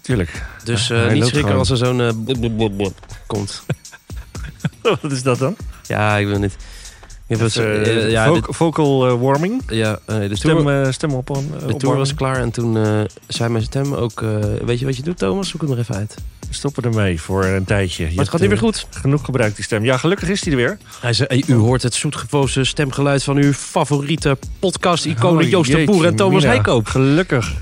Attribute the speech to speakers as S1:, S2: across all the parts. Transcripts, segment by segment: S1: Tuurlijk.
S2: Dus
S1: Hij
S2: eh, niet
S1: loopt
S2: schrikken
S1: gewoon.
S2: als er zo'n eh, blub, blub, blub, blub komt.
S3: Wat is dat dan?
S2: Ja, ik wil niet. Ik heb het,
S3: Even,
S2: eh,
S3: eh,
S2: ja,
S3: voc-
S2: dit-
S3: vocal eh, warming.
S2: ja, eh, de
S3: Stem,
S2: tour,
S3: eh, stem op. eh,
S2: de tour
S3: opwarming.
S2: was klaar en toen eh, zei mijn stem ook... eh, weet je wat je doet, Thomas? Zoek hem er even uit. Maar
S3: We stoppen ermee voor een tijdje. Je
S2: het gaat nu
S3: hebt,
S2: weer
S3: eh,
S2: goed.
S3: Genoeg gebruikt die stem. Ja, gelukkig is die er weer.
S2: Hij zei, hey, u hoort het zoetgevoose stemgeluid van uw favoriete podcast-iconen
S3: Oh,
S2: Joost de
S3: jeetje,
S2: Boer en Thomas
S3: Mina.
S2: Heikoop.
S3: Gelukkig.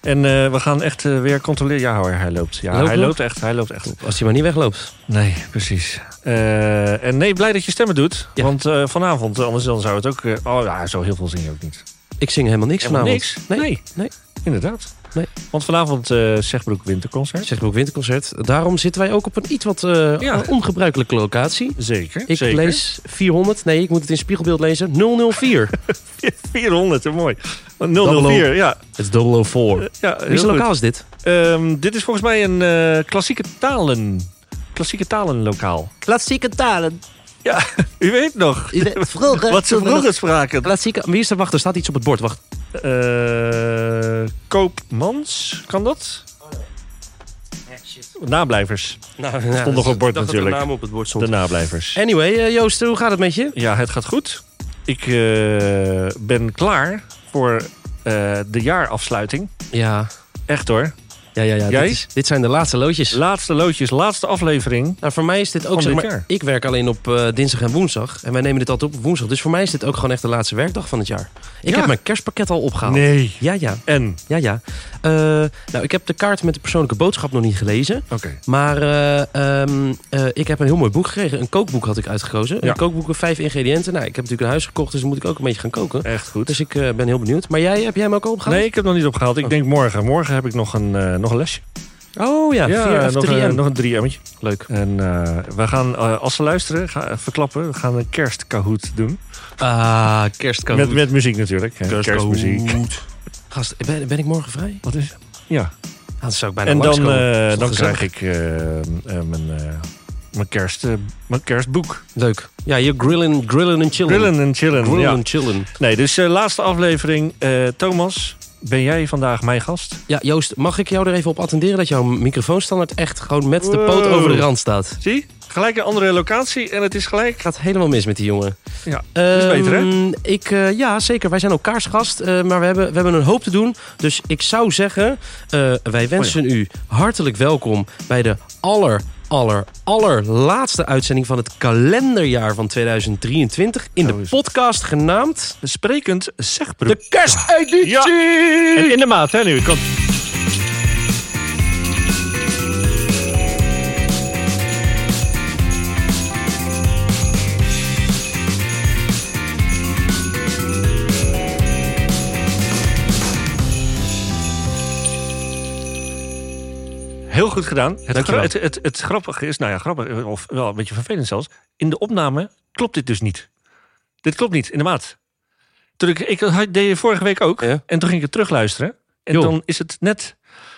S3: En eh, we gaan echt eh, weer controleren. Ja hoor, hij loopt. Ja,
S2: Loopt
S3: hij
S2: nog?
S3: loopt echt. Hij loopt echt.
S2: Als hij maar niet wegloopt.
S3: Nee, precies. Eh, en nee, blij dat je stemmen doet.
S2: Ja.
S3: Want eh, vanavond, eh, anders dan zou het ook... eh, oh ja, zo heel veel zingen ook niet.
S2: Ik zing helemaal niks
S3: Helemaal
S2: vanavond.
S3: niks?
S2: Nee.
S3: Nee.
S2: Nee.
S3: Inderdaad.
S2: Nee.
S3: Want vanavond eh Zegbroek Winterconcert.
S2: Zeg maar ook winterconcert. Daarom zitten wij ook op een iets wat eh,
S3: Ja.
S2: ongebruikelijke locatie.
S3: Zeker.
S2: Ik
S3: zeker.
S2: lees 400. Nee, ik moet het in spiegelbeeld lezen. 004.
S3: 400, eh, mooi. 004,
S2: Dubbelop.
S3: ja. eh,
S2: Het is 004.
S3: ja heel
S2: Wie
S3: goed.
S2: lokaal is dit?
S3: Ehm, dit is volgens mij een eh, klassieke talen... Klassieke talenlokaal.
S2: Klassieke talen.
S3: U weet nog
S2: Vroeger.
S3: wat ze vroeger spraken.
S2: Klassieke. Wie is er? Wacht, er staat iets op het bord. Wacht.
S3: Eh, koopmans, kan dat? Nablijvers.
S2: Nou,
S3: nog op het bord natuurlijk.
S2: naam op het bord
S3: De nablijvers.
S2: Anyway, eh, Joost, hoe gaat het met je?
S3: Ja, het gaat goed. Ik eh, ben klaar voor eh, de jaarafsluiting.
S2: Ja.
S3: Echt hoor.
S2: Ja, ja, ja.
S3: Jij?
S2: Dit, is- dit zijn de laatste loodjes.
S3: Laatste loodjes, laatste aflevering.
S2: Nou, voor mij is dit ook,
S3: Van
S2: zeg
S3: dit
S2: maar,
S3: jaar.
S2: ik werk alleen op eh, dinsdag en woensdag. En wij nemen dit altijd op op woensdag. Dus voor mij is dit ook gewoon echt de laatste werkdag van het jaar. Ik
S3: Ja.
S2: heb mijn kerstpakket al opgehaald.
S3: Nee.
S2: Ja, ja,
S3: En?
S2: ja, ja. Eh, nou, ik heb de kaart met de persoonlijke boodschap nog niet gelezen.
S3: Oké.
S2: Maar eh, ehm, eh, ik heb een heel mooi boek gekregen. Een kookboek had ik uitgekozen.
S3: Ja.
S2: Een kookboek met vijf ingrediënten. Nou, ik heb natuurlijk een huis gekocht, dus dan moet ik ook een beetje gaan koken.
S3: Echt goed.
S2: Dus ik eh, ben heel benieuwd. Maar jij, heb jij hem ook al opgehaald?
S3: Nee, ik heb nog niet opgehaald. Ik
S2: Oh.
S3: denk morgen. Morgen heb ik nog een, eh, nog een lesje.
S2: Oh ja, vier of
S3: nog,
S2: drie
S3: een,
S2: M.
S3: nog een 3M'tje.
S2: Leuk.
S3: En eh, we gaan, eh, als ze luisteren, ga, eh, verklappen. We gaan een kerstkahoot doen.
S2: Ah, kerstkook.
S3: Met, met muziek natuurlijk. hè. Kerstmuziek.
S2: Gast, ben, ben ik morgen vrij?
S3: Wat is Ja.
S2: Ah, dat zou ik bijna
S3: En dan,
S2: langskomen.
S3: eh,
S2: is
S3: dan
S2: toch
S3: krijg ik eh, eh, mijn, eh, mijn, kerst, eh, mijn kerstboek.
S2: Leuk. Ja, je grillen, grillen en chillen.
S3: Grillen en chillen.
S2: Grillen
S3: Ja.
S2: en chillen.
S3: Nee, dus eh, laatste aflevering. Eh, Thomas, ben jij vandaag mijn gast?
S2: Ja, Joost, mag ik jou er even op attenderen dat jouw microfoonstandaard echt gewoon met de poot
S3: Wow.
S2: over de rand staat?
S3: Zie, gelijk een andere locatie en het is gelijk.
S2: Gaat helemaal mis met die jongen.
S3: Ja,
S2: Ehm,
S3: is beter,
S2: Ik, eh, ja, zeker. Wij zijn elkaars gast, eh, maar we hebben, we hebben een hoop te doen. Dus ik zou zeggen, eh, wij
S3: Oh
S2: wensen u hartelijk welkom bij de aller, aller, allerlaatste uitzending van het kalenderjaar van 2023. In
S3: Zo
S2: de
S3: is het.
S2: podcast genaamd
S3: Sprekend zegbroek.
S2: De Ah, Kersteditie!
S3: En in de maat, hè, nu. Komt. Heel goed gedaan. Het,
S2: Dankjewel.
S3: het, het, het grappige is, nou ja, grappig, of wel een beetje vervelend zelfs. In de opname klopt dit dus niet. Dit klopt niet in de maat. Toen ik, ik had, deed het vorige week ook.
S2: Ja.
S3: En toen ging ik het terugluisteren. En
S2: Joh.
S3: dan is het net.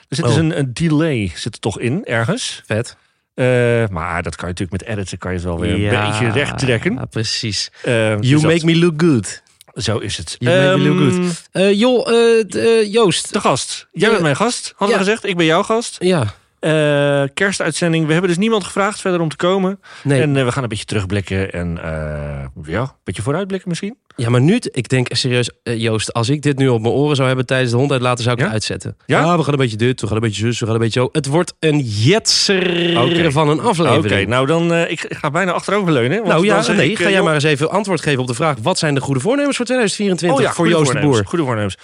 S3: Er zit dus
S2: Oh.
S3: een, een delay zit er toch in, ergens.
S2: Vet.
S3: Eh, maar dat kan je natuurlijk met editen kan je het wel weer een beetje recht trekken.
S2: Ja, precies.
S3: Eh, dus
S2: You
S3: dat-
S2: make me look good.
S3: Zo is het.
S2: You make me look
S3: Ehm,
S2: Eh, joh, eh, d- eh, Joost.
S3: De gast. Jij
S2: Eh,
S3: bent mijn gast, hadden
S2: ja.
S3: we gezegd. Ik ben jouw gast.
S2: Ja,
S3: Eh, kerstuitzending. We hebben dus niemand gevraagd verder om te komen.
S2: nee.
S3: En eh, we gaan een beetje terugblikken. En eh, ja, een beetje vooruitblikken misschien.
S2: Ja, maar nu, t- ik denk serieus, eh, Joost, als ik dit nu op mijn oren zou hebben tijdens de hond uitlaten, zou ik
S3: Ja?
S2: het uitzetten. Ah,
S3: Ja?
S2: we gaan een beetje dit, we gaan een beetje zus, we gaan een beetje zo. Het wordt een jetser
S3: Oké.
S2: van een aflevering.
S3: Oké, nou dan, eh, ik, ik ga bijna achteroverleunen. want
S2: nou
S3: dan
S2: ja,
S3: zeg
S2: nee,
S3: ik, eh,
S2: ga jij
S3: joh,
S2: maar eens even antwoord geven op de vraag: wat zijn de goede voornemens voor 2024 voor
S3: Oh goede
S2: Joost de
S3: voornemens,
S2: Boer?
S3: Goede voornemens.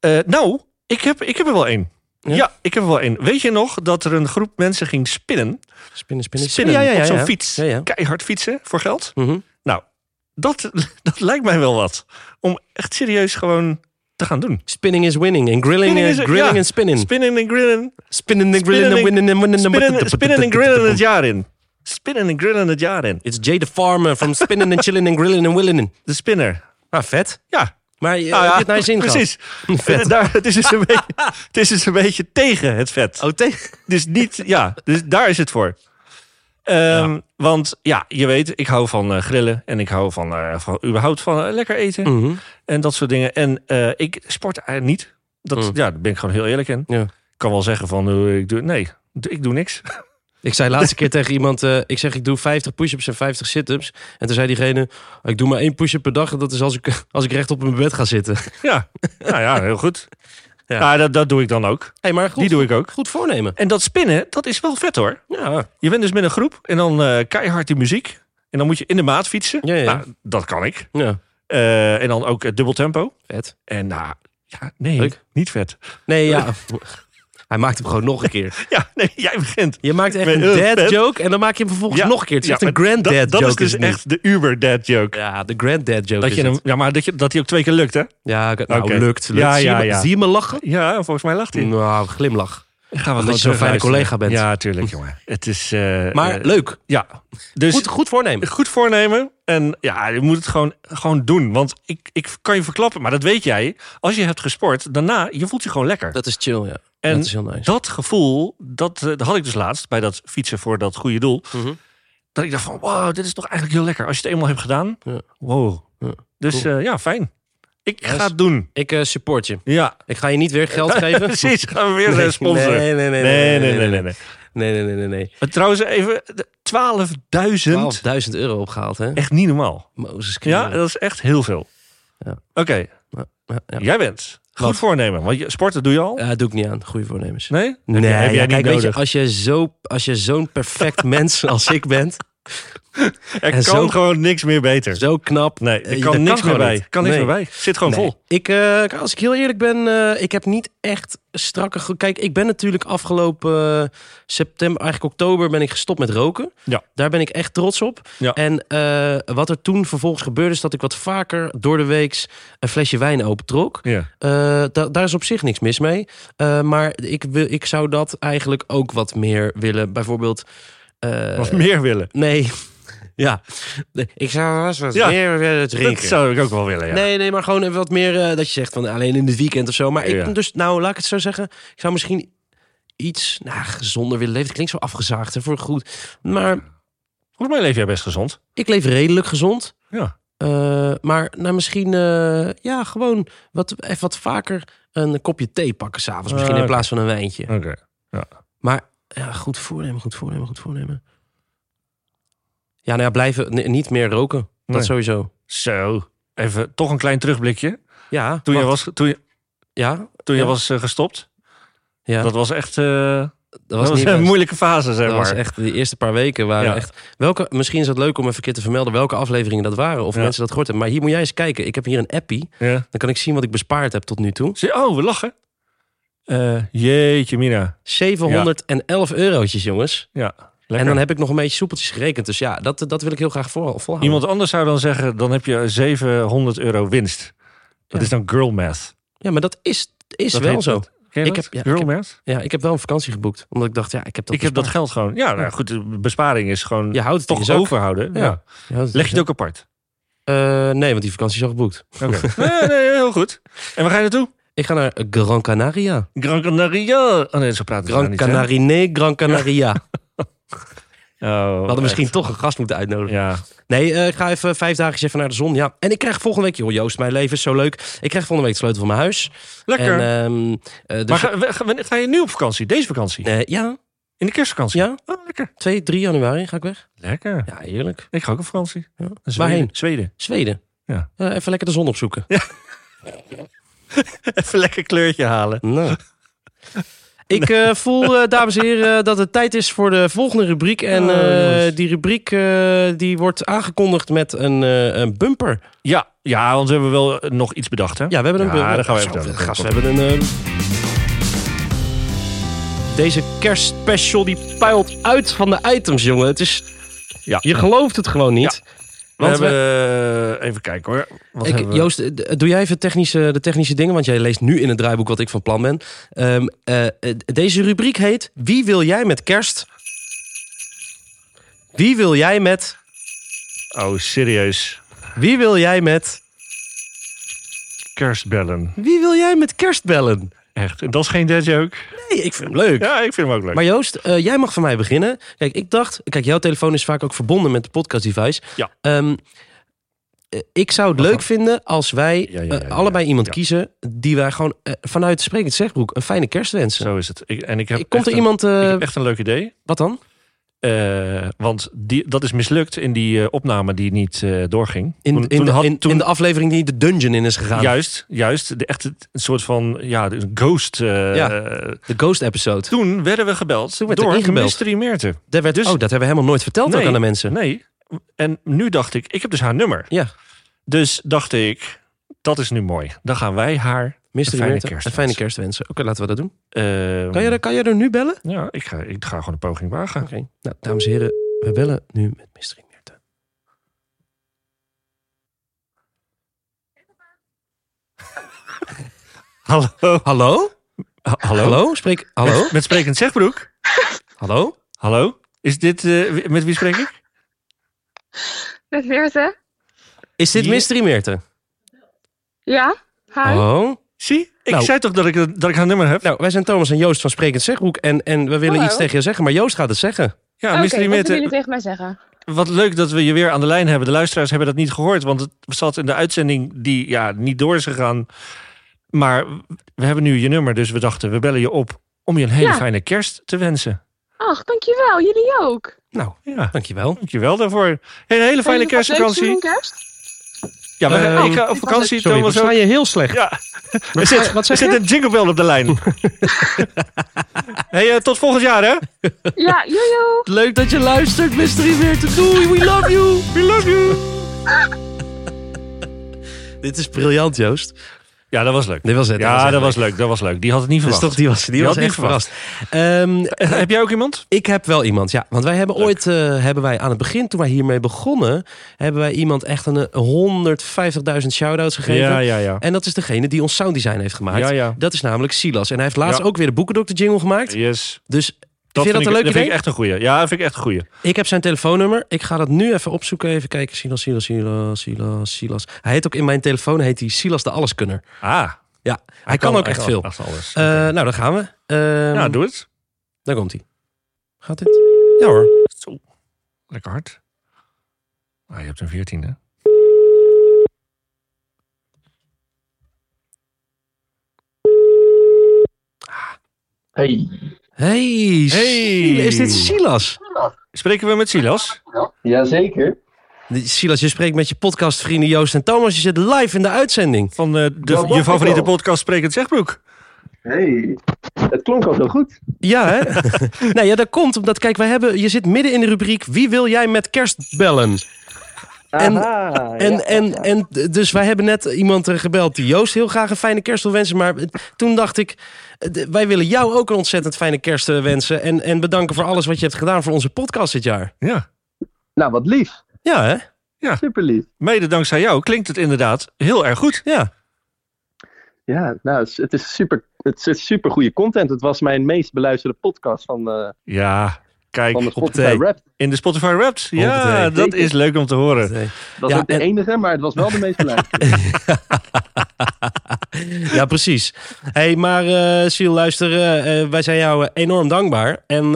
S3: Eh, nou, ik heb, ik heb er wel één.
S2: Ja?
S3: Ja? ik heb er wel één. Weet je nog dat er een groep mensen ging spinnen?
S2: Spinnen, spinnen,
S3: Spinnen
S2: Ja, ja, ja,
S3: op zo'n
S2: ja.
S3: fiets.
S2: Ja, ja.
S3: Keihard fietsen voor geld.
S2: Mhm.
S3: Dat, dat lijkt mij wel wat. Om echt serieus gewoon te gaan doen.
S2: Spinning is winning en grilling
S3: Spinning
S2: eh,
S3: is-
S2: grilling
S3: ja.
S2: en spinning.
S3: Spinnen en grillen.
S2: Spinning and grilling and
S3: Spinning-
S2: winning and winning. and-
S3: Spinnen, spinnen en grillen het jaar in. Spinnen en grillen het jaar in.
S2: It's Jay the Farmer van Spinning and Chilling and Grilling and Willing.
S3: De spinner.
S2: Ah, vet.
S3: Ja,
S2: Maar je
S3: Nou
S2: heb je het naar je zin gehad?
S3: precies. Eh, Daar, het, is dus een beetje, het is dus een beetje tegen het vet.
S2: Oh, tegen.
S3: Dus niet, ja, dus daar is het voor. Ehm, Want ja, je weet, ik hou van eh, grillen en ik hou van, eh, van überhaupt van eh, lekker eten en dat soort dingen. En eh, ik sport eigenlijk niet. Dat,
S2: Mm.
S3: Ja, daar ben ik gewoon heel eerlijk in.
S2: Ja.
S3: Ik kan wel zeggen van, eh, ik doe, nee, ik doe niks.
S2: Ik zei laatste keer tegen iemand, eh, ik zeg ik doe 50 push-ups en 50 sit-ups. En toen zei diegene, ik doe maar één push-up per dag. En dat is als ik, als ik recht op mijn bed ga zitten.
S3: Ja, nou ja, heel goed.
S2: Ja.
S3: Ja, dat, dat doe ik dan ook.
S2: Hey, maar goed,
S3: Die doe ik ook.
S2: goed voornemen.
S3: En dat spinnen, dat is wel vet hoor.
S2: Ja,
S3: Je bent dus met een groep en dan eh, keihard die muziek. En dan moet je in de maat fietsen.
S2: Ja, ja.
S3: Nou, dat kan ik.
S2: ja
S3: Eh, en dan ook eh, dubbel tempo.
S2: vet.
S3: En nou, ja, nee,
S2: Leuk.
S3: niet vet.
S2: Nee, ja. Hij maakt hem gewoon nog een keer.
S3: Ja, nee, jij begint.
S2: Je maakt echt
S3: Ik
S2: een
S3: ben heel
S2: dad
S3: vet.
S2: joke en dan maak je hem vervolgens
S3: Ja,
S2: nog een keer. Het is
S3: ja,
S2: echt een
S3: maar
S2: granddad
S3: dat,
S2: joke.
S3: dat is dus
S2: het nu.
S3: echt de uber dad joke.
S2: Ja, de granddad joke
S3: Dat
S2: is
S3: je hem,
S2: het.
S3: ja, maar dat, je, dat hij ook twee keer lukt, hè?
S2: Ja, ik- nou,
S3: Oké.
S2: lukt. lukt.
S3: Ja,
S2: zie,
S3: ja,
S2: je, me-
S3: ja.
S2: zie je me lachen?
S3: Ja, volgens mij lacht hij.
S2: Nou, glimlach.
S3: Gaan Mm, we
S2: Omdat
S3: gewoon
S2: je zo'n fijne
S3: terugluisteren.
S2: collega bent.
S3: Ja, tuurlijk, jongen. Het is... eh,
S2: Maar
S3: eh,
S2: leuk.
S3: ja, dus
S2: Goed,
S3: goed,
S2: goed voornemen.
S3: voornemen. En ja, je moet het gewoon, gewoon doen. Want ik, ik kan je verklappen, maar dat weet jij. Als je hebt gesport, daarna, je voelt je gewoon lekker.
S2: Dat is chill, ja.
S3: En
S2: dat is heel nice.
S3: Dat gevoel, dat, eh, dat had ik dus laatst bij dat fietsen voor dat goede doel.
S2: Mhm.
S3: Dat ik dacht van, wow, dit is toch eigenlijk heel lekker. Als je het eenmaal hebt gedaan,
S2: Ja.
S3: wow.
S2: Ja,
S3: Dus eh, ja, fijn. Ik
S2: Yes.
S3: ga het doen.
S2: Ik eh, support je.
S3: Ja,
S2: Ik ga je niet weer geld geven.
S3: precies. Gaan we weer
S2: Nee,
S3: eh, sponsoren.
S2: Nee, nee, nee.
S3: Nee, nee, nee, nee.
S2: Nee, nee, nee, nee, nee.
S3: Maar trouwens, even de 12.000.
S2: 12.000 euro opgehaald, hè?
S3: Echt niet normaal.
S2: Mozes
S3: Ja,
S2: Christus.
S3: dat is echt heel veel.
S2: Ja.
S3: Oké,
S2: Ja, ja.
S3: jij bent. Goed
S2: Wat?
S3: voornemen. Want je, sporten doe je al?
S2: Ja, doe ik niet aan. Goede voornemens.
S3: Nee?
S2: Nee,
S3: heb
S2: ja,
S3: jij
S2: kijk,
S3: niet
S2: weet je,
S3: nodig.
S2: als je, zo, als je zo'n perfect mens als ik bent,
S3: Er
S2: en
S3: kan
S2: zo-
S3: gewoon niks meer beter.
S2: zo knap.
S3: Nee,
S2: eh,
S3: er kan
S2: dat
S3: niks meer
S2: gewoon
S3: bij.
S2: niet.
S3: Kan niks
S2: Nee.
S3: meer bij. Zit gewoon
S2: Nee.
S3: vol.
S2: Ik, eh, als ik heel eerlijk ben, eh, ik heb niet echt strakke... ge- Kijk, ik ben natuurlijk afgelopen eh, september, eigenlijk oktober, ben ik gestopt met roken.
S3: Ja.
S2: Daar ben ik echt trots op.
S3: Ja.
S2: En eh, wat er toen vervolgens gebeurde, is dat ik wat vaker door de weeks een flesje wijn opentrok.
S3: Ja.
S2: Eh, da- daar is op zich niks mis mee. Eh, maar ik, wil, ik zou dat eigenlijk ook wat meer willen. Bijvoorbeeld. eh,
S3: Wat meer willen.
S2: nee. ja. Nee, Ik zou wel wat
S3: Ja.
S2: meer willen
S3: Dat
S2: drinken.
S3: zou ik ook wel willen, ja.
S2: Nee, nee, maar gewoon even wat meer eh, dat je zegt van alleen in het weekend of zo. Maar ik
S3: Ja.
S2: ben dus, nou, laat ik het zo zeggen. Ik zou misschien iets nou, gezonder willen leven. Het klinkt zo afgezaagd en voor goed. Maar
S3: Volgens mij leef jij best gezond.
S2: ik leef redelijk gezond.
S3: Ja.
S2: Eh, maar nou, misschien eh, ja, gewoon wat, even wat vaker een kopje thee pakken s'avonds. Misschien
S3: Ah,
S2: in
S3: oké.
S2: plaats van een wijntje.
S3: Oké.
S2: Maar ja, goed voornemen, goed voornemen, goed voornemen. Ja, nou ja, blijven n- niet meer roken. Dat
S3: Nee.
S2: sowieso.
S3: Zo. Even toch een klein terugblikje.
S2: Ja,
S3: Toen je
S2: wacht.
S3: was, toen je,
S2: Ja,
S3: toen
S2: Ja.
S3: je was eh, gestopt.
S2: ja.
S3: Dat was echt... eh,
S2: dat
S3: Dat was,
S2: niet
S3: een
S2: best.
S3: moeilijke fase, zeg
S2: Dat was
S3: maar.
S2: echt de eerste paar weken waren
S3: Ja.
S2: echt. Welke, misschien is het leuk om even een keer te vermelden welke afleveringen dat waren. Of
S3: Ja.
S2: mensen dat gehoord hebben. Maar hier moet jij eens kijken. Ik heb hier een appie.
S3: Ja.
S2: Dan kan ik zien wat ik bespaard heb tot nu toe.
S3: Zie- Oh, we lachen. Eh, jeetje, Mina.
S2: 711 eurotjes, jongens.
S3: Ja, lekker.
S2: En dan heb ik nog een beetje soepeltjes gerekend. Dus ja, dat, dat wil ik heel graag voor, volhouden.
S3: Iemand anders zou dan zeggen, dan heb je 700 euro winst. Dat
S2: Ja.
S3: is dan girl math.
S2: Ja, maar dat is, is
S3: Dat
S2: wel
S3: heet
S2: zo.
S3: dat. Ken je
S2: Ik
S3: dat?
S2: heb- ja,
S3: girl
S2: ik heb-
S3: math?
S2: Ja, ik heb wel een vakantie geboekt. Omdat ik dacht, ja, ik heb dat
S3: Ik heb dat
S2: bespaard.
S3: geld gewoon. Ja, nou goed, de besparing is gewoon
S2: Je houdt het in
S3: toch
S2: je zak.
S3: overhouden.
S2: Ja.
S3: Ja.
S2: Je
S3: Leg
S2: houdt het
S3: je
S2: in
S3: het
S2: je
S3: ook apart.
S2: zak. Eh, nee, want die vakantie is al geboekt.
S3: nee, nee, heel goed. En waar ga je naartoe?
S2: Ik ga naar Gran Canaria.
S3: Gran Canaria. Oh nee, zo praten ze daar
S2: Gran
S3: niet, hè?
S2: Canarine, Gran Canaria. We
S3: Oh,
S2: hadden misschien
S3: echt.
S2: toch een gast moeten uitnodigen.
S3: Ja,
S2: Nee, eh, ik ga even vijf dagen even naar de zon. Ja. En ik krijg volgende week, joh, Joost, mijn leven is zo leuk. Ik krijg volgende week de sleutel van mijn huis.
S3: lekker.
S2: En, ehm, eh, dus,
S3: maar ga, we- ga, wanneer ga je nu op vakantie? Deze vakantie?
S2: Nee, ja,
S3: In de kerstvakantie?
S2: ja,
S3: Oh, lekker.
S2: 2, 3 januari ga ik weg.
S3: Lekker.
S2: Ja, heerlijk.
S3: Ik ga ook op vakantie.
S2: Ja.
S3: Zweden.
S2: Waarheen?
S3: Zweden.
S2: Zweden.
S3: Ja.
S2: Eh, even lekker de zon opzoeken.
S3: Even lekker kleurtje halen.
S2: Nou. Ik eh, voel, eh, dames en heren, eh, dat het tijd is voor de volgende rubriek. En
S3: Oh,
S2: eh,
S3: jongens.
S2: die rubriek eh, die wordt aangekondigd met een, eh, een bumper.
S3: Ja, ja, want we hebben wel eh, nog iets bedacht, hè?
S2: Ja, we hebben een
S3: Ja,
S2: bumper.
S3: daar gaan we even
S2: Zo,
S3: doen.
S2: gast, we hebben een... eh, Deze kerstspecial die puilt uit van de items, jongen. Het is...
S3: Ja.
S2: Je gelooft het gewoon niet.
S3: We
S2: Want we-
S3: hebben... eh, even kijken, hoor. Wat
S2: Ik,
S3: hebben we?
S2: Joost, eh, d- doe jij even technische, de technische dingen? Want jij leest nu in het draaiboek wat ik van plan ben. Ehm, eh, eh, deze rubriek heet Wie wil jij met kerst? Wie wil jij met...
S3: Oh, serieus.
S2: Wie wil jij met...
S3: Kerstbellen.
S2: Wie wil jij met kerst bellen?
S3: Echt. En dat is geen dead joke.
S2: Nee, ik vind hem leuk.
S3: Ja, ik vind hem ook leuk.
S2: Maar Joost, eh, jij mag van mij beginnen. Kijk, ik dacht... Kijk, jouw telefoon is vaak ook verbonden met de podcast device.
S3: Ja.
S2: Ehm, eh, ik zou het
S3: Wat
S2: leuk
S3: dan?
S2: vinden als wij
S3: Ja, ja, ja,
S2: eh,
S3: ja,
S2: allebei
S3: ja.
S2: iemand
S3: Ja.
S2: kiezen die wij gewoon eh, vanuit Sprekend Zegbroek een fijne kerst wensen.
S3: Zo is het. Ik, en ik heb
S2: Komt
S3: echt
S2: er
S3: een-
S2: iemand... eh,
S3: ik heb echt een leuk idee.
S2: Wat dan?
S3: Eh, want die, dat is mislukt in die eh, opname die niet eh, doorging.
S2: In,
S3: Toen-
S2: in,
S3: toen
S2: de,
S3: had-
S2: in,
S3: toen-
S2: in de aflevering die de dungeon in is gegaan.
S3: Juist, juist. De, echt een soort van ja, de ghost. eh,
S2: Ja. De ghost episode.
S3: Toen werden we gebeld
S2: Toen werd er
S3: door
S2: ingebeld.
S3: Mystery Meerte.
S2: Daar werd,
S3: Dus-
S2: oh, dat hebben we helemaal nooit verteld ook
S3: Nee.
S2: aan de mensen.
S3: Nee. En nu dacht ik, ik heb dus haar nummer.
S2: Ja.
S3: Dus dacht ik, dat is nu mooi. Dan gaan wij haar...
S2: Mystery
S3: fijne
S2: Meerte,
S3: kerstwens.
S2: Een fijne kerstwensen. Mm. Oké, laten we dat doen.
S3: eh,
S2: Kan jij, er- kan jij er nu bellen? Oké.
S3: Ja, ik ga, ik ga gewoon een poging wagen.
S2: Nou, dames en heren, we bellen nu met Mystery Meerte.
S3: Hallo.
S2: Hallo?
S3: Ha- hallo.
S2: Hallo? Spreek... Hallo?
S3: Met, met sprekend Zegbroek.
S2: Hallo?
S3: Hallo. Is dit... eh, wie- met wie spreek ik?
S1: Met Meerte?
S2: Is dit
S3: Ja.
S2: Mystery Meerte?
S1: Ja? Hi.
S2: Oh.
S3: Zie? Ik
S2: Nou.
S3: zei toch dat ik, dat ik haar nummer heb?
S2: Nou, wij zijn Thomas en Joost van Sprekend Zegbroek. En, en we willen
S1: Hallo.
S2: iets tegen je zeggen, maar Joost gaat het zeggen.
S3: ja, Mystery
S1: Oké, wat willen
S3: Meerte.
S1: jullie tegen mij zeggen?
S3: Wat leuk dat we je weer aan de lijn hebben. De luisteraars hebben dat niet gehoord, want het zat in de uitzending die ja, niet door is gegaan. Maar we hebben nu je nummer, dus we dachten we bellen je op om je een hele
S1: Ja.
S3: fijne kerst te wensen.
S1: Ach, dankjewel. Jullie ook.
S2: Nou,
S3: Ja,
S2: dankjewel.
S3: dankjewel daarvoor. Hey, een hele
S1: Hebben
S3: fijne
S1: jullie wat leuks voor
S3: kerstvakantie.
S1: mijn kerst?
S3: Ja, we-
S2: Ehm,
S3: ik ga op vakantie.
S2: Sorry, we
S3: Thomas ook.
S2: staan je heel slecht.
S3: Ja,
S2: Wat-
S3: er zit,
S2: wat
S3: er
S2: zeg
S3: zit
S2: je?
S3: een jingle bell op de lijn. hey, eh, tot volgend jaar hè.
S1: Ja, jojo.
S2: Leuk dat je luistert, Mystery Meerte. Doei, we love you. We love you. Dit is briljant, Joost.
S3: Ja, dat was leuk.
S2: Dit was het.
S3: Ja,
S2: echt
S3: dat was leuk. Dat was leuk. Die had het niet
S2: Dus
S3: verwacht.
S2: toch, die was, die
S3: Je
S2: was
S3: had
S2: echt
S3: niet
S2: verrast. Ehm,
S3: Eh, Heb jij ook iemand?
S2: ik heb wel iemand, ja. Want wij hebben
S3: Leuk.
S2: ooit, eh, hebben wij aan het begin, toen wij hiermee begonnen, hebben wij iemand echt een eh, 150.000 shout-outs gegeven.
S3: Ja, ja, ja.
S2: En dat is degene die ons sounddesign heeft gemaakt.
S3: Ja, ja.
S2: Dat is namelijk Silas. En hij heeft laatst
S3: Ja.
S2: ook weer de Boekendokter jingle gemaakt.
S3: Yes.
S2: Dus
S3: Dat
S2: vind je dat
S3: vind
S2: een
S3: ik,
S2: leuk
S3: dat
S2: idee?
S3: vind
S2: Ik,
S3: ik echt een goeie. Ja, dat vind ik echt een goeie.
S2: heb zijn telefoonnummer. Ik ga dat nu even opzoeken. Even kijken. Silas, Silas, Silas, Silas, Silas. Hij heet ook in mijn telefoon heet hij Silas de Alleskunner.
S3: Ah, hij,
S2: Ja, hij, kan, ook echt veel.
S3: alles.
S2: Eh, nou, dan gaan we. Ehm,
S3: nou, doe het.
S2: Daar komt hij. Gaat dit? Ja hoor.
S3: Zo. Lekker hard. Ah, je hebt een 14, hè?
S4: Hey.
S2: Hey, Sil- is dit Silas?
S3: Spreken we met Silas?
S4: Jazeker.
S2: Silas, je spreekt met je podcastvrienden Joost en Thomas. Je zit live in de uitzending.
S3: Van eh, de,
S4: Ja, dat
S3: je
S4: ik
S3: favoriete
S4: wel.
S3: podcast Sprekend Zegbroek.
S4: Hey. Het klonk al zo goed.
S2: Ja, hè? nou ja, dat komt omdat, kijk, wij hebben, je zit midden in de rubriek Wie wil jij met kerst bellen? En-
S4: Aha,
S2: En,
S4: ja.
S2: en, en dus wij hebben net iemand eh, gebeld die Joost heel graag een fijne kerst wil wensen. Maar toen dacht ik, eh, d- wij willen jou ook een ontzettend fijne kerst eh, wensen. En, en bedanken voor alles wat je hebt gedaan voor onze podcast dit jaar.
S3: Ja.
S4: Nou, wat lief.
S2: Ja, hè?
S4: Super lief.
S3: Mede dankzij jou klinkt het inderdaad heel erg goed.
S2: Ja.
S4: Ja, nou, het is, het is super, het is super goede content. Het was mijn meest beluisterde podcast van, eh
S3: Ja,
S4: van de
S3: kijk,
S4: Spotify
S2: thee.
S4: Rap.
S3: in de Spotify Wrapped. Ja,
S2: Hoppatee.
S3: dat is leuk om te horen.
S4: Dat was
S2: Ja,
S4: ook de
S2: en-
S4: enige, maar het was wel de meest beluisterde.
S2: Ja, precies. hey, maar eh Siel, luister, eh, eh, wij zijn jou eh, enorm dankbaar. En eh,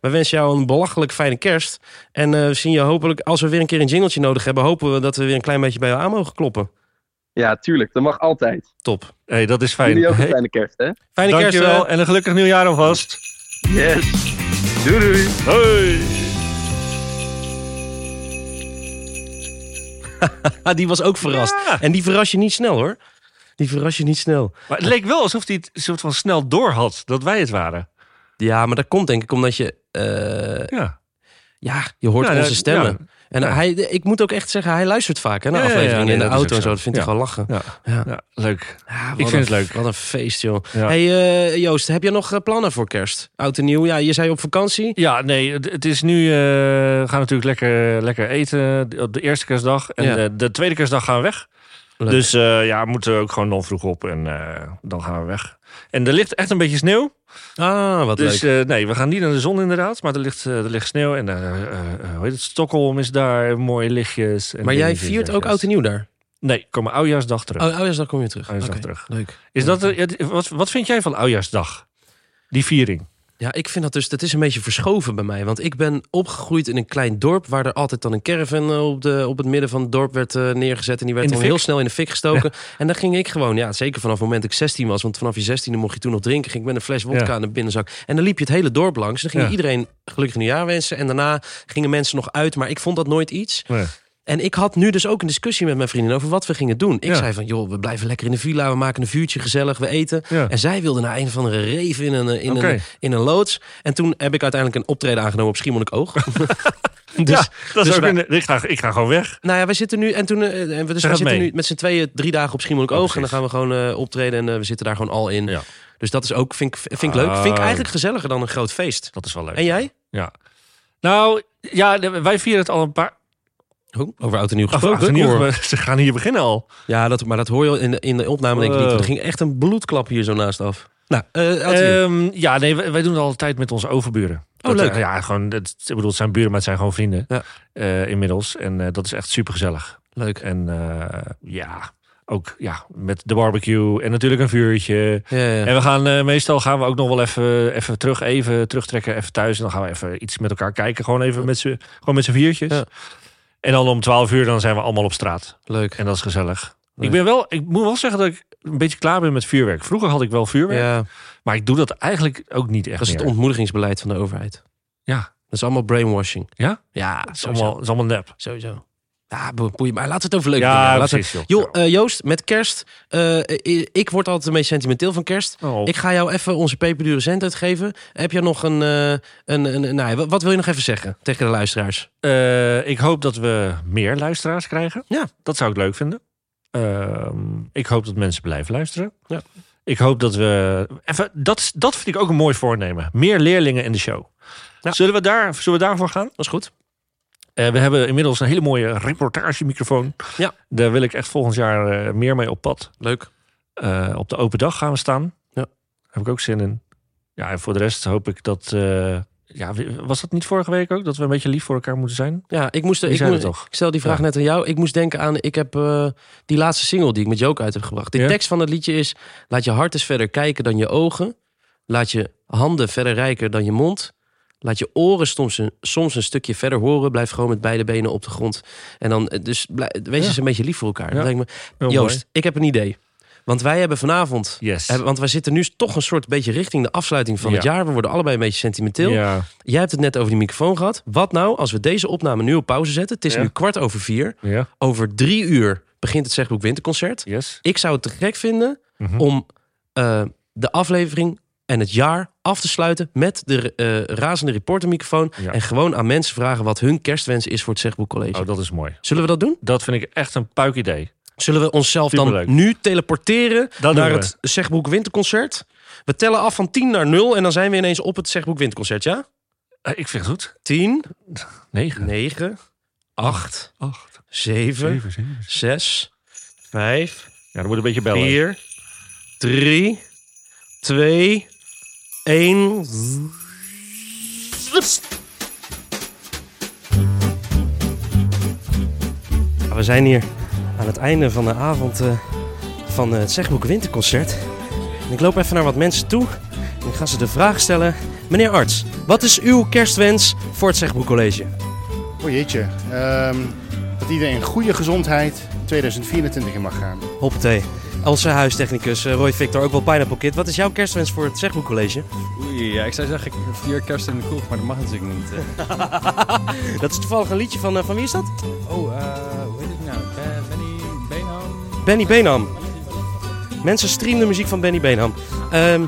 S2: wij wensen jou een belachelijk fijne kerst. En eh, we zien je hopelijk, als we weer een keer een jingletje nodig hebben, hopen we dat we weer een klein beetje bij jou aan mogen kloppen.
S4: ja, tuurlijk. Dat mag altijd.
S2: Top.
S3: hey, dat is fijn.
S4: Jullie ook een
S3: Hey,
S4: kleine kerst, hè?
S2: Fijne kerst.
S3: dankjewel
S2: wel.
S3: en een gelukkig nieuwjaar alvast.
S4: Yes. Doei doei.
S3: Hoi.
S2: Ah, die was ook verrast.
S3: Ja.
S2: En die verras je niet snel hoor. Die verras je niet snel.
S3: Maar het leek wel alsof hij het soort van snel door had dat wij het waren.
S2: Ja, maar dat komt denk ik omdat je. eh,
S3: Ja.
S2: ja, je hoort
S3: Ja,
S2: onze
S3: dat-
S2: stemmen. En
S3: Ja.
S2: hij, ik moet ook echt zeggen, hij luistert vaak hè, naar
S3: Ja, ja, ja,
S2: afleveringen
S3: nee,
S2: in de
S3: dat is
S2: auto
S3: ook
S2: en zo.
S3: zo.
S2: Dat vindt hij
S3: Ja.
S2: gewoon lachen.
S3: Ja.
S2: Ja.
S3: ja, leuk.
S2: Ja, wat
S3: Ik vind
S2: een-
S3: het leuk.
S2: Wat een feest, joh.
S3: Ja.
S2: Hey eh, Joost, heb jij nog eh, plannen voor kerst? Oud en nieuw? Ja, je zei op vakantie.
S3: Ja, nee, het, het is nu. eh, we gaan natuurlijk lekker, lekker eten eh, op de eerste kerstdag. En
S2: Ja.
S3: eh, de tweede kerstdag gaan we weg.
S2: Leuk.
S3: Dus eh, ja, we moeten ook gewoon dan vroeg op en eh, dan gaan we weg. En er ligt echt een beetje sneeuw.
S2: Ah, wat
S3: Dus
S2: leuk.
S3: eh, nee, we gaan niet naar de zon inderdaad. Maar er ligt, eh, er ligt sneeuw en eh, eh, eh, hoe heet het? Stockholm is daar, mooie lichtjes. En
S2: Maar jij
S3: dingetjes
S2: viert
S3: en
S2: ook
S3: gas.
S2: oud en nieuw daar?
S3: Nee, ik kom mijn oudjaarsdag terug.
S2: Oh, ouders, dan kom je terug.
S3: Oudjaarsdag
S2: Oké,
S3: terug.
S2: Leuk.
S3: Is dat, eh, ja, wat, wat vind jij van oudjaarsdag? Die viering.
S2: Ja, ik vind dat dus, dat is een beetje verschoven bij mij. Want ik ben opgegroeid in een klein dorp waar er altijd dan een caravan eh, op, de, op het midden van het dorp werd eh, neergezet. En die werd
S3: In de fik?
S2: dan heel snel in de fik gestoken. En dan ging ik gewoon, ja, zeker vanaf het moment dat ik 16 was, want vanaf je 16e mocht je toen nog drinken, ging ik met een fles wodka
S3: Ja.
S2: in de binnenzak. En dan liep je het hele dorp langs. Dan ging
S3: Ja.
S2: iedereen gelukkig nieuwjaar wensen. En daarna gingen mensen nog uit, maar ik vond dat nooit iets.
S3: Nee.
S2: En ik had nu dus ook een discussie met mijn vrienden over wat we gingen doen. Ik
S3: Ja.
S2: zei van, joh, we blijven lekker in de villa, we maken een vuurtje gezellig, we eten.
S3: Ja.
S2: En zij wilde naar een van de reven in een, eh, in,
S3: Oké.
S2: een, in een loods. En toen heb ik uiteindelijk een optreden aangenomen op Schiermonnikoog. dus,
S3: ja, dat is
S2: dus
S3: ook
S2: wij-
S3: een- ik, ga, ik ga gewoon weg.
S2: nou ja, wij zitten nu en toen, eh, en we, dus
S3: Ze
S2: wij
S3: gaat
S2: zitten
S3: mee.
S2: nu met z'n tweeën drie dagen op Schiermonnikoog.
S3: Oh,
S2: en dan gaan we gewoon eh, optreden en eh, we zitten daar gewoon al in.
S3: Ja.
S2: Dus dat is ook, vind ik, vind ik leuk. Vind ik
S3: Ah.
S2: eigenlijk gezelliger dan een groot feest.
S3: Dat is wel leuk.
S2: En jij?
S3: Ja. Nou, ja, de- wij vieren het al een paar...
S2: Oh, over oud en nieuw
S3: Ach,
S2: gesproken.
S3: ach, in ieder
S2: hoor.
S3: geval, ze gaan hier beginnen al.
S2: Ja, dat, maar dat hoor je in de, in de opname denk ik niet.
S3: Wow.
S2: Er ging echt een bloedklap hier zo naast af. Nou, eh, oud en nieuw.
S3: Ehm, ja, nee, wij, wij doen het altijd met onze overburen.
S2: Oh,
S3: Dat,
S2: leuk.
S3: eh, ja, gewoon, het, ik bedoel, het zijn buren, maar het zijn gewoon vrienden
S2: Ja.
S3: eh, inmiddels. En eh, dat is echt super gezellig.
S2: leuk.
S3: En eh, ja, ook ja, met de barbecue en natuurlijk een vuurtje.
S2: Ja, ja.
S3: En we gaan eh, meestal gaan we ook nog wel even, even terug, even terugtrekken, even thuis. En dan gaan we even iets met elkaar kijken. Gewoon even met z'n gewoon met z'n viertjes.
S2: Ja.
S3: En dan om 12 uur dan zijn we allemaal op straat.
S2: Leuk.
S3: En dat is gezellig.
S2: Leuk.
S3: Ik ben wel, ik moet wel zeggen dat ik een beetje klaar ben met vuurwerk. Vroeger had ik wel vuurwerk,
S2: Ja,
S3: maar ik doe dat eigenlijk ook niet echt
S2: dat is het
S3: meer.
S2: ontmoedigingsbeleid van de overheid.
S3: ja,
S2: Dat is allemaal brainwashing.
S3: Ja?
S2: Ja,
S3: het is
S2: sowieso.
S3: allemaal, het is allemaal nep.
S2: Sowieso. Ja, bo- boeien, maar laten we het over leuke dingen
S3: Ja,
S2: hebben. Laten we-
S3: precies. Joh.
S2: Joh, eh, Joost, met kerst. eh, eh, ik word altijd een beetje sentimenteel van kerst.
S3: Oh.
S2: Ik ga jou even onze peperdure cent uitgeven. Heb jij nog een... eh, een, een, een- nou, ja, wat- wat wil je nog even zeggen tegen de luisteraars?
S3: Eh, ik hoop dat we meer luisteraars krijgen.
S2: Ja.
S3: Dat zou ik leuk vinden. Ehm, ik hoop dat mensen blijven luisteren.
S2: Ja.
S3: Ik hoop dat we... Even, dat, is- dat vind ik ook een mooi voornemen. Meer leerlingen in de show.
S2: Ja.
S3: Zullen, we daar, zullen we daarvoor gaan?
S2: Dat is goed.
S3: Eh, we hebben inmiddels een hele mooie reportagemicrofoon.
S2: Ja.
S3: Daar wil ik echt volgend jaar eh, meer mee op pad.
S2: Leuk.
S3: Eh, op de open dag gaan we staan.
S2: Ja.
S3: Heb ik ook zin in. Ja, en voor de rest hoop ik dat... eh, ja, was dat niet vorige week ook? Dat we een beetje lief voor elkaar moeten zijn?
S2: Ja, ik moest...
S3: Die
S2: Ik,
S3: zijn
S2: moest
S3: er toch?
S2: ik stel die vraag
S3: Ja.
S2: net aan jou. Ik moest denken aan... Ik heb eh, die laatste single die ik met Joke uit heb gebracht. De
S3: Ja.
S2: tekst van het liedje is... Laat je hart eens verder kijken dan je ogen. Laat je handen verder rijker dan je mond. Laat je oren soms een, soms een stukje verder horen. Blijf gewoon met beide benen op de grond. En dan, eh, dus blij- wees eens een beetje lief voor elkaar.
S3: Ja.
S2: Dat lijkt me,
S3: Heel
S2: Joost,
S3: mooi.
S2: ik heb een idee. Want wij hebben vanavond...
S3: Yes.
S2: hebben- Want wij zitten nu toch een soort beetje richting de afsluiting van het
S3: Ja.
S2: jaar. We worden allebei een beetje sentimenteel.
S3: Ja.
S2: Jij hebt het net over die microfoon gehad. Wat nou als we deze opname nu op pauze zetten? Het is
S3: Ja.
S2: nu kwart over vier.
S3: Ja,
S2: Over drie uur begint het Zegboek Winterconcert.
S3: yes.
S2: Ik zou het te gek vinden
S3: Mhm.
S2: om eh, de aflevering en het jaar af te sluiten met de eh, razende reportermicrofoon.
S3: Ja.
S2: En gewoon aan mensen vragen wat hun kerstwens is voor het Zegboek College.
S3: Oh, dat is mooi.
S2: Zullen we dat doen?
S3: Dat vind ik echt een puik idee.
S2: Zullen we onszelf dan
S3: Superleuk.
S2: nu teleporteren
S3: Dat
S2: naar
S3: doen we.
S2: het Zegboek Winterconcert? We tellen af van 10 naar 0 en dan zijn we ineens op het Zegboek Winterconcert, ja?
S3: Eh, ik vind het goed.
S2: 10,
S3: Negen.
S2: 9, 8,
S3: Acht.
S2: 7,
S3: Zeven, zeven.
S2: 6, 5,
S3: Ja, dan moet een beetje bellen.
S2: 4, 3, 2, 1. We zijn hier aan het einde van de avond eh, van eh, het Zegboek Winterconcert. En ik loop even naar wat mensen toe en ik ga ze de vraag stellen. Meneer Arts, wat is uw kerstwens voor het Zegboek College?
S5: Oh jeetje. Ehm, dat iedereen in goede gezondheid 2024 in mag gaan.
S2: Hoppatee. Onze huistechnicus eh, Roy Victor, ook wel Pineapple Kid. Wat is jouw kerstwens voor het Zegboek College?
S6: Oei, ja, ik zou zeggen vier kerst in de kroeg, maar dat mag natuurlijk niet. eh.
S2: Dat is toevallig een liedje van, eh, van wie is dat?
S6: Oh, eh, hoe heet het nou? Ben- Benny Beenham?
S2: Benny Beenham. Mensen streamen de muziek van Benny Beenham. Ehm,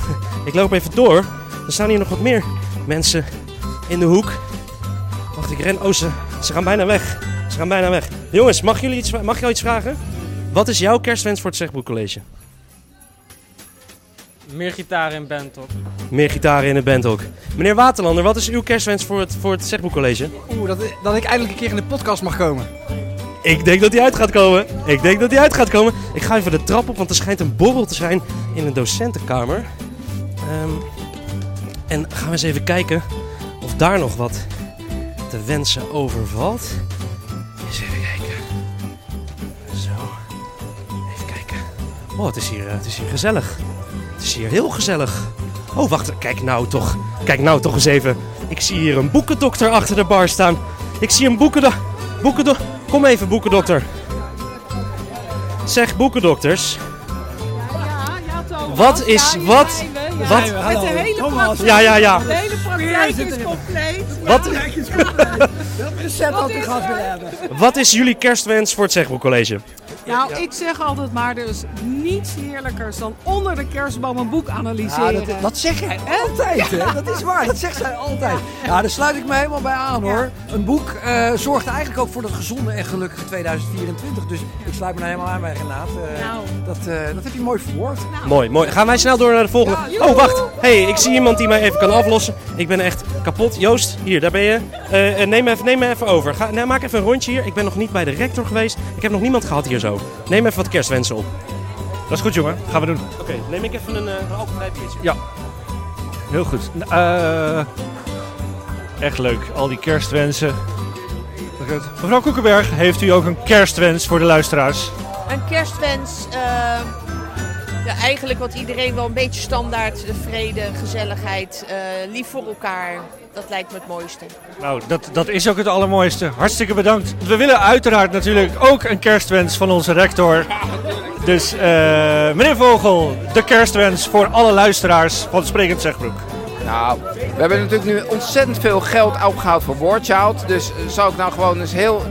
S2: ik loop even door. Er staan hier nog wat meer mensen in de hoek. Wacht, ik ren. Oh, ze, ze gaan bijna weg. Ze gaan bijna weg. Jongens, mag, jullie iets, mag jou iets vragen? Wat is jouw kerstwens voor het Zegboek College?
S7: Meer gitaar in band op.
S2: Meer gitaren in de band ook. Meneer Waterlander, wat is uw kerstwens voor het, voor het Zegboek College?
S8: Oeh, dat, dat ik eindelijk een keer in de podcast mag komen.
S2: Ik denk dat hij uit gaat komen. Ik denk dat hij uit gaat komen. Ik ga even de trap op, want er schijnt een borrel te zijn in een docentenkamer. Ehm, en gaan we eens even kijken of daar nog wat te wensen overvalt. Eens even kijken. Zo. Even kijken. Oh, het is hier, eh, het is hier gezellig. Het is hier heel gezellig. Oh, wacht. Kijk nou toch. Kijk nou toch eens even. Ik zie hier een boekendokter achter de bar staan. Ik zie een boekendo... Boekendo... Kom even, boekendokter. Zeg, boekendokters.
S9: Ja, ja, Thomas.
S2: Wat is-
S9: hier
S2: wat-
S9: zijn we. Ja,
S2: wat-
S9: Het hele praktijk,
S2: Ja, ja, ja.
S9: de hele praktijk is compleet.
S2: Wat,
S9: Zet dat de gas willen hebben.
S2: wat is jullie kerstwens voor het Zegboekcollege?
S9: Nou, ik zeg altijd maar, dus niets heerlijkers dan onder de kerstboom een boek
S8: Ja,
S9: analyseren.
S8: dat, dat zeg jij altijd, hè? Dat is waar, dat zegt zij altijd. Ja, daar sluit ik me helemaal bij aan, hoor. Een boek eh, zorgt eigenlijk ook voor dat gezonde en gelukkige 2024. Dus ik sluit me daar helemaal aan bij, Renaat. Eh,
S9: Nou.
S8: dat, eh, dat heb je mooi verwoord.
S2: Mooi, mooi. Gaan wij snel door naar de volgende. Oh, wacht. hey, ik zie iemand die mij even kan aflossen. Ik ben echt kapot. Joost, hier, daar ben je. Eh, eh, neem, me even, neem me even over. Ga, nou, maak even een rondje hier. Ik ben nog niet bij de rector geweest. Ik heb nog niemand gehad hier zo. Neem even wat kerstwensen op.
S3: Dat is goed, jongen. Gaan we doen.
S2: Oké, neem ik even een, uh, alcoholvrij biertje.
S3: Heel goed. N- eh, echt leuk. Al die kerstwensen. Mevrouw Koekenberg, heeft u ook een kerstwens voor de luisteraars?
S10: Een kerstwens. eh, ja, eigenlijk wat iedereen wel een beetje standaard. eh, Vrede, gezelligheid, eh, lief voor elkaar. Dat lijkt me het mooiste.
S3: Nou, dat, dat is ook het allermooiste. Hartstikke bedankt. We willen uiteraard natuurlijk ook een kerstwens van onze rector. Dus eh, meneer Vogel, de kerstwens voor alle luisteraars van Sprekend Zegbroek.
S11: Nou, we hebben natuurlijk nu ontzettend veel geld opgehaald voor Wordchild. Dus eh, zou ik nou gewoon eens heel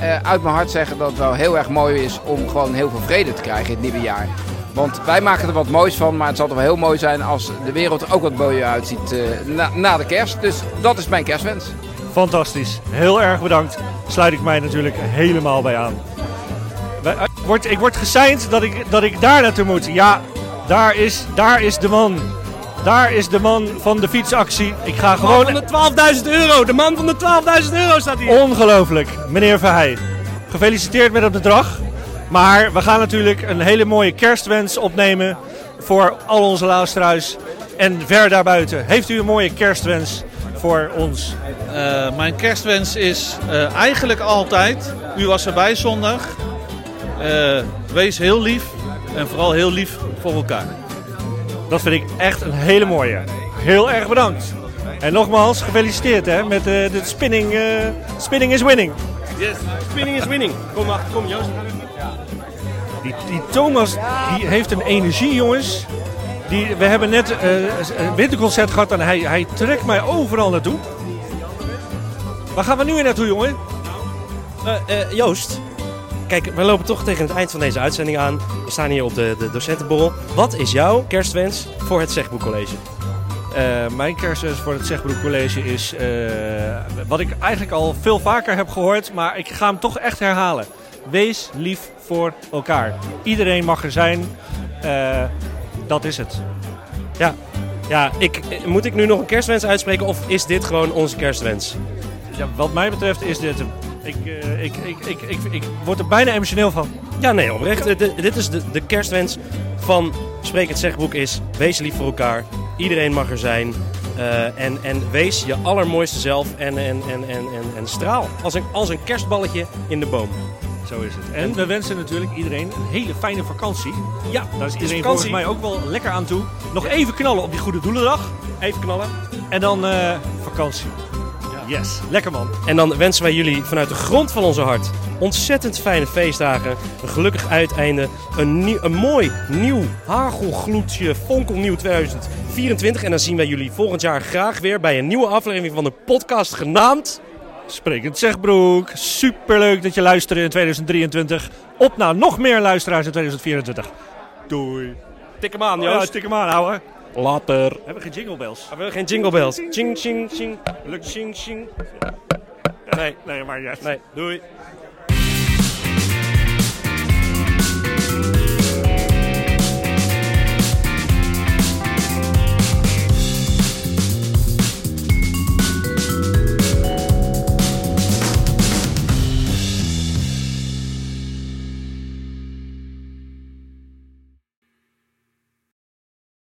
S11: eh, uit mijn hart zeggen dat het wel heel erg mooi is om gewoon heel veel vrede te krijgen in het nieuwe jaar. Want wij maken er wat moois van, maar het zal toch wel heel mooi zijn als de wereld er ook wat mooier uitziet eh, na, na de kerst. Dus dat is mijn kerstwens.
S3: Fantastisch. Heel erg bedankt. Sluit ik mij natuurlijk helemaal bij aan. Wij- eh, Word, ik word geseind dat ik, dat ik daar naartoe moet. Ja, daar is, daar is de man. Daar is de man van de fietsactie. Ik ga gewoon...
S2: Gewoon de 12.000 euro. De man van de 12.000 euro staat hier.
S3: Ongelooflijk, meneer Verheij. Gefeliciteerd met het bedrag. Maar we gaan natuurlijk een hele mooie kerstwens opnemen voor al onze luisteraars. En ver daarbuiten, heeft u een mooie kerstwens voor ons?
S12: Eh, mijn kerstwens is eh, eigenlijk altijd, u was erbij zondag, Eh, wees heel lief en vooral heel lief voor elkaar.
S3: Dat vind ik echt een hele mooie. Heel erg bedankt. En nogmaals, gefeliciteerd hè, met eh, de spinning, eh, spinning is winning.
S2: Yes. Spinning is winning. Kom, wacht. Kom, Joost.
S3: Die, die Thomas die heeft een energie, jongens. Die, we hebben net eh, een winterconcert gehad en hij, hij trekt mij overal naartoe. Waar gaan we nu weer naartoe, jongen?
S2: Eh, eh, Joost, kijk, we lopen toch tegen het eind van deze uitzending aan. We staan hier op de, de docentenborrel. Wat is jouw kerstwens voor het Zegboekcollege?
S3: Eh, mijn kerstwens voor het Zegbroek College is eh, wat ik eigenlijk al veel vaker heb gehoord, maar ik ga hem toch echt herhalen. Wees lief voor elkaar. Iedereen mag er zijn. Eh, dat is het.
S2: Ja, ik, eh, moet ik nu nog een kerstwens uitspreken of is dit gewoon onze kerstwens?
S3: Dus Ja, wat mij betreft is dit hem. Ik, eh, ik, ik, ik, ik, ik word er bijna emotioneel van.
S2: Ja, nee, oprecht. Eh, Dit, dit is de, de kerstwens van Spreek het Zegboek is... Wees lief voor elkaar. Iedereen mag er zijn. Eh, en, en wees je allermooiste zelf en, en, en, en, en, en straal. Als een, als een kerstballetje in de boom.
S3: Zo is het. En we wensen natuurlijk iedereen een hele fijne vakantie.
S2: Ja,
S3: Daar is
S2: het
S3: iedereen volgens mij ook wel lekker aan toe. Nog even knallen op die goede doelendag.
S2: Even knallen.
S3: En dan eh, vakantie. Yes, lekker man.
S2: En dan wensen wij jullie vanuit de grond van onze hart ontzettend fijne feestdagen. Een gelukkig uiteinde. Een, nieuw, een mooi nieuw hagelgloedje fonkelnieuw 2024. En dan zien wij jullie volgend jaar graag weer bij een nieuwe aflevering van de podcast genaamd...
S3: Sprekend Zegbroek. Superleuk dat je luistert in 2023. Op naar nog meer luisteraars in 2024. Doei.
S2: Tik hem aan,
S3: Ja,
S2: Joost.
S3: stik hem aan, ouwe.
S2: Later.
S3: Hebben we geen jingle bells?
S2: Hebben we geen jingle bells? Ching, ching, ching. Lukt ching, ching.
S3: Nee, nee, maar ja.
S2: Nee, doei.